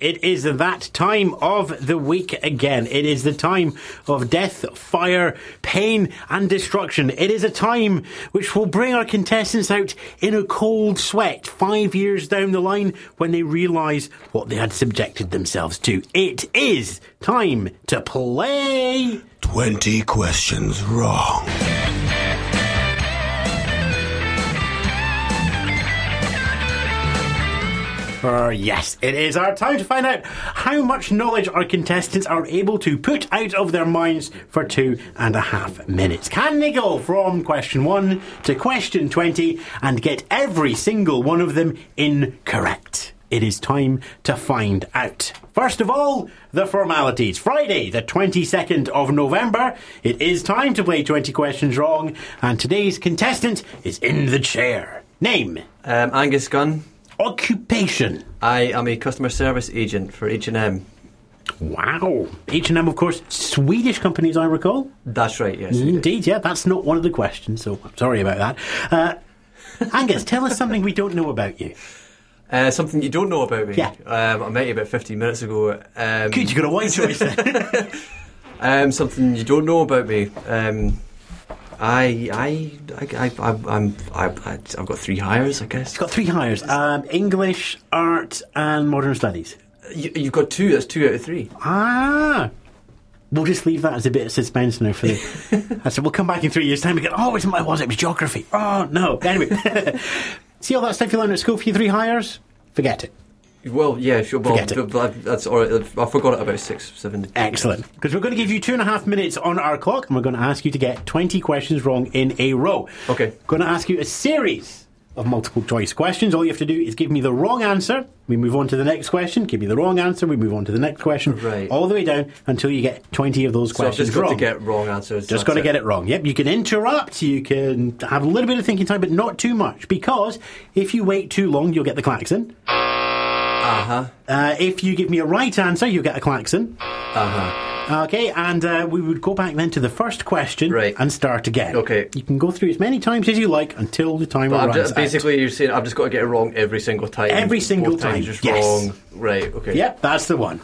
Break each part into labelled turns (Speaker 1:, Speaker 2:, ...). Speaker 1: It is that time of the week again. It is the time of death, fire, pain, and destruction. It is a time which will bring our contestants out in a cold sweat five years down the line when they realise what they had subjected themselves to. It is time to play.
Speaker 2: 20 questions wrong.
Speaker 1: For yes, it is our time to find out how much knowledge our contestants are able to put out of their minds for two and a half minutes. Can they go from question one to question 20 and get every single one of them incorrect? It is time to find out. First of all, the formalities. Friday, the 22nd of November, it is time to play 20 questions wrong, and today's contestant is in the chair. Name,
Speaker 3: Um, Angus Gunn.
Speaker 1: occupation,
Speaker 3: I am a customer service agent for H&M.
Speaker 1: Wow. H&M, of course, Swedish companies, I recall.
Speaker 3: That's right, yes. it is.
Speaker 1: Indeed, yeah, that's not one of the questions, so I'm sorry about that. Uh, Angus, tell us something we don't know about you.
Speaker 3: Uh, something you don't know about me.
Speaker 1: Yeah.
Speaker 3: Um, I met you about 15 minutes ago. Um,
Speaker 1: Good, you got a wide choice then.
Speaker 3: um, something you don't know about me. Um, I, I, I, I, I, I'm, I, I, I've got three hires, I guess.
Speaker 1: You've got three hires, um, English, art and modern studies.
Speaker 3: You, you've got two, that's two out of three.
Speaker 1: Ah. We'll just leave that as a bit of suspense now for the... I said, we'll come back in three years' time and go, oh, it's my, was it? It was geography. Oh, no. Anyway. See all that stuff you learned at school for your three hires? Forget it.
Speaker 3: Well, yeah, sure. Well,
Speaker 1: Forget it. Eh,
Speaker 3: but- but that's all right. I forgot it about six, seven.
Speaker 1: Excellent. Because we're going to give you two and a half minutes on our clock, and we're going to ask you to get 20 questions wrong in a row.
Speaker 3: Okay.
Speaker 1: Going to ask you a series of multiple choice questions. All you have to do is give me the wrong answer. We move on to the next question. Give me the wrong answer. We move on to the next question.
Speaker 3: Right.
Speaker 1: All the way down until you get 20 of those
Speaker 3: So I've
Speaker 1: questions
Speaker 3: just got
Speaker 1: wrong.
Speaker 3: to get wrong answers.
Speaker 1: Just got to get it wrong. Yep, you can interrupt, you can have a little bit of thinking time, but not too much, because if you wait too long, you'll get the klaxon.
Speaker 3: Uh huh.
Speaker 1: Uh, if you give me a right answer, you'll get a klaxon.
Speaker 3: Uh huh.
Speaker 1: Okay, and uh, we would go back then to the first question
Speaker 3: Right.
Speaker 1: and start again.
Speaker 3: Okay.
Speaker 1: You can go through as many times as you like until the timer
Speaker 3: But I'm
Speaker 1: runs
Speaker 3: just,
Speaker 1: out.
Speaker 3: basically, you're saying I've just got to get it wrong every single time.
Speaker 1: Every single
Speaker 3: Both times
Speaker 1: time,
Speaker 3: Just
Speaker 1: yes.
Speaker 3: wrong. Right. Okay.
Speaker 1: Yep, that's the one.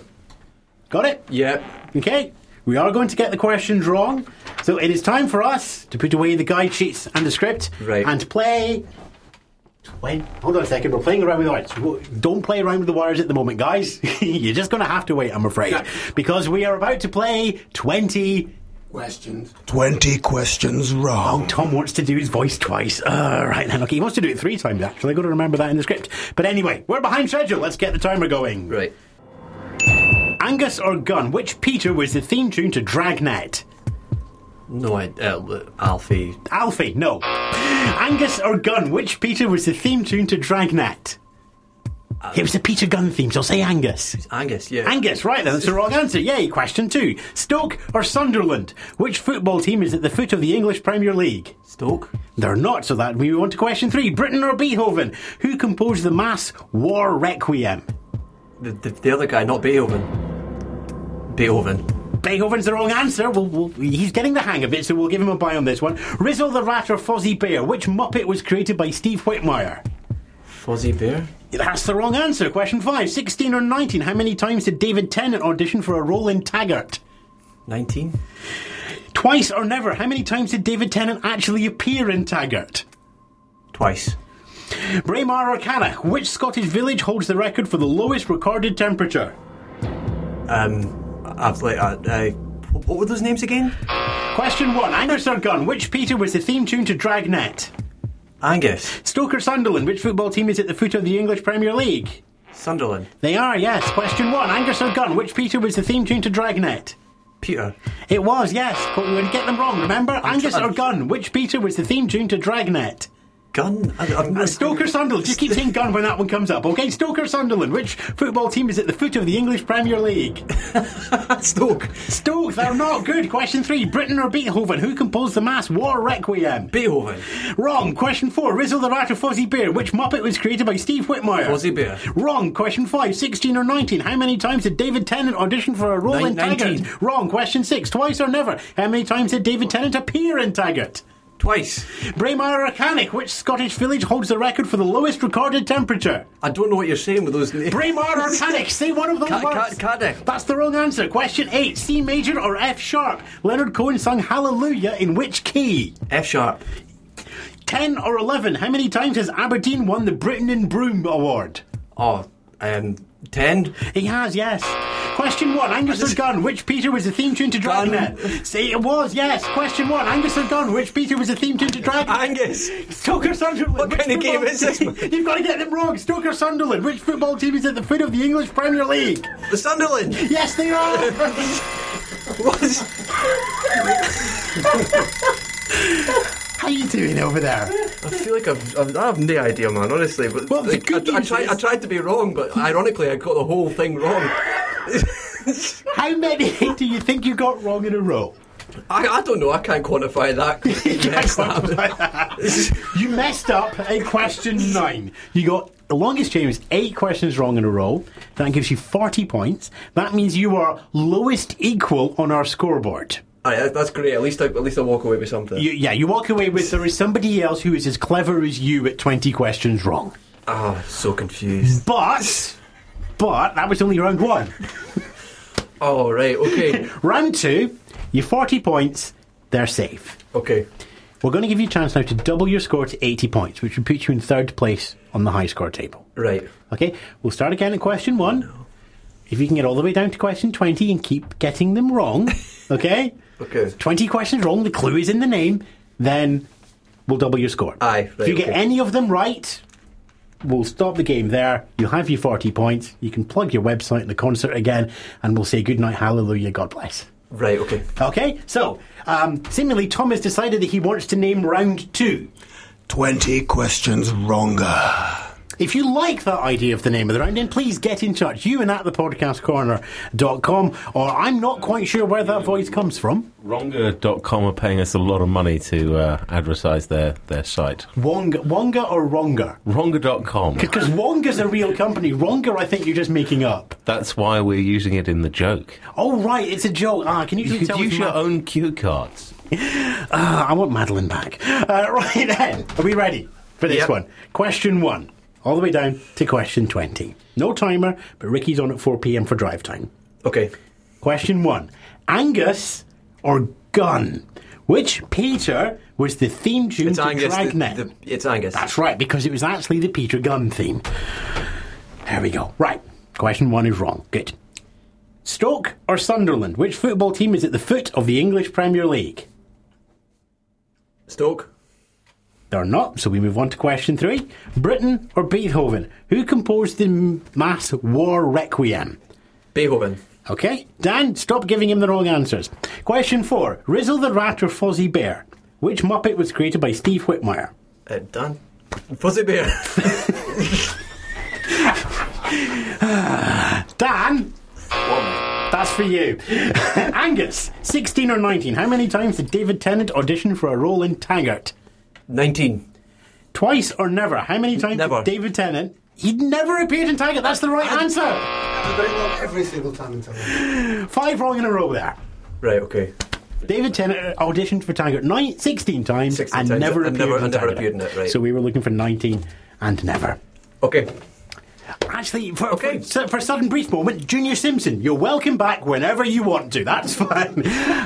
Speaker 1: Got it?
Speaker 3: Yep.
Speaker 1: Okay. We are going to get the questions wrong, so it is time for us to put away the guide sheets and the script
Speaker 3: Right.
Speaker 1: and play. When? Hold on a second. We're playing around with the wires. Wo- Don't play around with the wires at the moment, guys. You're just going to have to wait, I'm afraid, because we are about to play twenty
Speaker 2: Questions. 20 questions wrong.
Speaker 1: Tom wants to do his voice twice. Uh, right then, okay, he wants to do it three times actually. I've got to remember that in the script. But anyway, we're behind schedule. Let's get the timer going.
Speaker 3: Right.
Speaker 1: Angus or Gun, which Peter was the theme tune to Dragnet?
Speaker 3: No, I, uh, Alfie.
Speaker 1: Alfie, no. Angus or Gun, which Peter was the theme tune to Dragnet? It was the Peter Gunn theme, so say Angus.
Speaker 3: Angus. Yeah.
Speaker 1: Angus, right then, that's the wrong answer. Yay, question two. Stoke or Sunderland? Which football team is at the foot of the English Premier League?
Speaker 3: Stoke.
Speaker 1: They're not, so that we move on to question three. Britain or Beethoven? Who composed the Mass War Requiem?
Speaker 3: The, the, the other guy, not Beethoven. Beethoven.
Speaker 1: Beethoven's the wrong answer. Well, well, he's getting the hang of it, so we'll give him a buy on this one. Rizzle the Rat or Fozzie Bear? Which Muppet was created by Steve Whitmire?
Speaker 3: Fuzzy Bear.
Speaker 1: That's the wrong answer. Question five. 16 or 19, how many times did David Tennant audition for a role in Taggart?
Speaker 3: Nineteen.
Speaker 1: Twice or never, how many times did David Tennant actually appear in Taggart?
Speaker 3: Twice.
Speaker 1: Braemar or Cannock? Which Scottish village holds the record for the lowest recorded temperature?
Speaker 3: Um. I've like. Uh, uh, what were those names again?
Speaker 1: Question one, Angus or Gunn, which Peter was the theme tune to Dragnet?
Speaker 3: Angus.
Speaker 1: Stoker Sunderland, which football team is at the foot of the English Premier League?
Speaker 3: Sunderland.
Speaker 1: They are, yes. Question one, Angus or Gunn, which Peter was the theme tune to Dragnet?
Speaker 3: Peter.
Speaker 1: It was, yes, but we would get them wrong, remember? Angus
Speaker 3: trying-
Speaker 1: or Gunn, which Peter was the theme tune to Dragnet?
Speaker 3: Gun. I, I'm,
Speaker 1: Uh, Stoker Sunderland, just keep saying Gunn when that one comes up, okay? Stoker Sunderland, which football team is at the foot of the English Premier League?
Speaker 3: Stoke.
Speaker 1: Stoke, they're not good. Question three, Britain or Beethoven, who composed the mass War Requiem?
Speaker 3: Beethoven.
Speaker 1: Wrong. Question four. Rizzle the Rat or Fozzie Bear? Which Muppet was created by Steve Whitmire?
Speaker 3: Fozzie Bear.
Speaker 1: Wrong. Question five. 16 or 19. How many times did David Tennant audition for a role
Speaker 3: Nin-
Speaker 1: in Taggart?
Speaker 3: 19.
Speaker 1: Wrong. Question six. Twice or never. How many times did David Tennant appear in Taggart?
Speaker 3: Twice.
Speaker 1: Braemar Arcanic, which Scottish village holds the record for the lowest recorded temperature?
Speaker 3: I don't know what you're saying with those names.
Speaker 1: Braemar Arcanic, say one of those
Speaker 3: Ca- Ca-
Speaker 1: words.
Speaker 3: Cardiff.
Speaker 1: That's the wrong answer. Question 8, C major or F sharp? Leonard Cohen sung Hallelujah in which key?
Speaker 3: F sharp.
Speaker 1: 10 or 11, how many times has Aberdeen won the Britain in Broom Award?
Speaker 3: Oh, um, 10.
Speaker 1: He has, yes. Question one, Angus the Gun, which Peter was the theme tune to Dragnet? See, it was, yes. Question one, Angus the Gun, which Peter was the theme tune to Dragnet?
Speaker 3: Angus.
Speaker 1: Stoker Sunderland.
Speaker 3: What
Speaker 1: which
Speaker 3: kind of game
Speaker 1: football
Speaker 3: is this,
Speaker 1: team-
Speaker 3: man?
Speaker 1: You've got to get them wrong. Stoker Sunderland, which football team is at the foot of the English Premier League?
Speaker 3: The Sunderland.
Speaker 1: Yes, they are.
Speaker 3: What is.
Speaker 1: How you doing over there?
Speaker 3: I feel like I've, I've, I have no idea, man, honestly. But
Speaker 1: Well, the
Speaker 3: like,
Speaker 1: good
Speaker 3: I, I,
Speaker 1: news
Speaker 3: tried,
Speaker 1: is-
Speaker 3: I tried to be wrong, but ironically, I got the whole thing wrong.
Speaker 1: How many do you think you got wrong in a row?
Speaker 3: I, I don't know. I can't quantify that. Next time.
Speaker 1: you messed up at question nine. You got the longest chain was eight questions wrong in a row. That gives you 40 points. That means you are lowest equal on our scoreboard.
Speaker 3: Aye, that- that's great. At least I, at least I walk away with something.
Speaker 1: You, yeah, you walk away with there is somebody else who is as clever as you at 20 questions wrong.
Speaker 3: Ah, so confused.
Speaker 1: But, but that was only round one.
Speaker 3: Oh right, okay,
Speaker 1: round two, you 40 points, they're safe.
Speaker 3: okay.
Speaker 1: We're going to give you a chance now to double your score to 80 points, which would put you in third place on the high score table.
Speaker 3: Right.
Speaker 1: Okay, we'll start again at question one. If you can get all the way down to question 20 and keep getting them wrong, okay?
Speaker 3: Okay.
Speaker 1: 20 questions wrong, the clue is in the name, then we'll double your score.
Speaker 3: Aye,
Speaker 1: if
Speaker 3: right,
Speaker 1: you get
Speaker 3: okay.
Speaker 1: any of them right, we'll stop the game there. You'll have your 40 points. You can plug your website and the concert again, and we'll say goodnight, hallelujah, God bless.
Speaker 3: Right, okay.
Speaker 1: Okay, so um, seemingly Tom has decided that he wants to name round two.
Speaker 2: 20 questions wronger.
Speaker 1: If you like that idea of the name of the round, then please get in touch. You and at the podcastcorner.com, or I'm not quite sure where that voice comes from.
Speaker 4: Ronga.com are paying us a lot of money to uh, advertise their, their site.
Speaker 1: Wonga, Wonga or Wronga?
Speaker 4: Ronga.com.
Speaker 1: Because Wonga's a real company. Wronga, I think you're just making up.
Speaker 4: That's why we're using it in the joke.
Speaker 1: Oh, right, it's a joke. Ah, can you,
Speaker 4: You
Speaker 1: just
Speaker 4: could
Speaker 1: tell
Speaker 4: use
Speaker 1: us
Speaker 4: your
Speaker 1: Ma-
Speaker 4: own cue cards.
Speaker 1: Ah, I want Madeline back. Uh, right then, are we ready for this
Speaker 3: Yep.
Speaker 1: one? Question one, all the way down to question 20. No timer, but Ricky's on at 4 pm for drive time.
Speaker 3: Okay.
Speaker 1: Question one Angus or Gun? Which Peter was the theme tune
Speaker 3: It's
Speaker 1: to
Speaker 3: Angus. the-
Speaker 1: Dragnet?
Speaker 3: the- it's Angus.
Speaker 1: That's right, because it was actually the Peter Gunn theme. There we go. Right. Question one is wrong. Good. Stoke or Sunderland? Which football team is at the foot of the English Premier League?
Speaker 3: Stoke.
Speaker 1: They're not, so we move on to question three. Britain or Beethoven? Who composed the m- mass war requiem?
Speaker 3: Beethoven.
Speaker 1: Okay, Dan, stop giving him the wrong answers. Question four Rizzle the Rat or Fozzie Bear? Which Muppet was created by Steve Whitmire?
Speaker 3: Uh, Dan. Fuzzy Bear.
Speaker 1: Dan! That's for you. Angus, 16 or 19, how many times did David Tennant audition for a role in Taggart?
Speaker 3: Nineteen.
Speaker 1: Twice or never, how many times
Speaker 3: Never.
Speaker 1: did David Tennant. He'd never appeared in Taggart, that's the right answer!
Speaker 2: Every single time until
Speaker 1: Five wrong in a row there.
Speaker 3: Right, okay.
Speaker 1: David Tennant uh, auditioned for Taggart nine, 16 times
Speaker 3: 16
Speaker 1: and
Speaker 3: times,
Speaker 1: never
Speaker 3: and
Speaker 1: appeared
Speaker 3: never-
Speaker 1: in
Speaker 3: and never
Speaker 1: Taggart.
Speaker 3: appeared in it, right.
Speaker 1: So we were looking for 19 and never.
Speaker 3: Okay.
Speaker 1: Actually, for,
Speaker 3: Okay.
Speaker 1: for, for a sudden brief moment, Junior Simpson, you're welcome back whenever you want to. That's fine.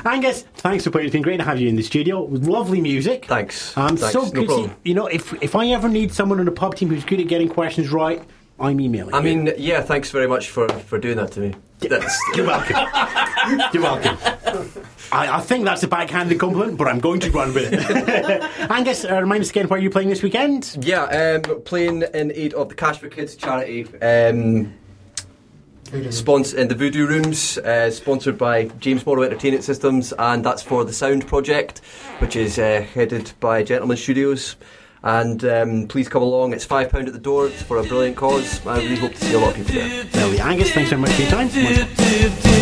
Speaker 1: Angus, thanks for playing. It's been great to have you in the studio. With Lovely music.
Speaker 3: Thanks.
Speaker 1: Um,
Speaker 3: Thanks.
Speaker 1: So
Speaker 3: No
Speaker 1: good to-
Speaker 3: problem.
Speaker 1: you know, if if I ever need someone on a pub team who's good at getting questions right, I'm emailing.
Speaker 3: I
Speaker 1: you.
Speaker 3: mean, yeah, thanks very much for, for doing that to me. That's,
Speaker 1: you're welcome. you're welcome. I, I think that's a backhanded compliment, but I'm going to run with it. Angus, uh, remind us again where you're playing this weekend.
Speaker 3: yeah, um, playing in aid of the Cash for Kids charity. Um, Spons- in the Voodoo Rooms, uh, sponsored by James Morrow Entertainment Systems, and that's for the Sound Project, which is uh, headed by Gentleman Studios. And um, please come along. It's five pound at the door. It's for a brilliant cause. I really hope to see a lot of people there.
Speaker 1: Well, yeah, Angus, thanks very much for your time.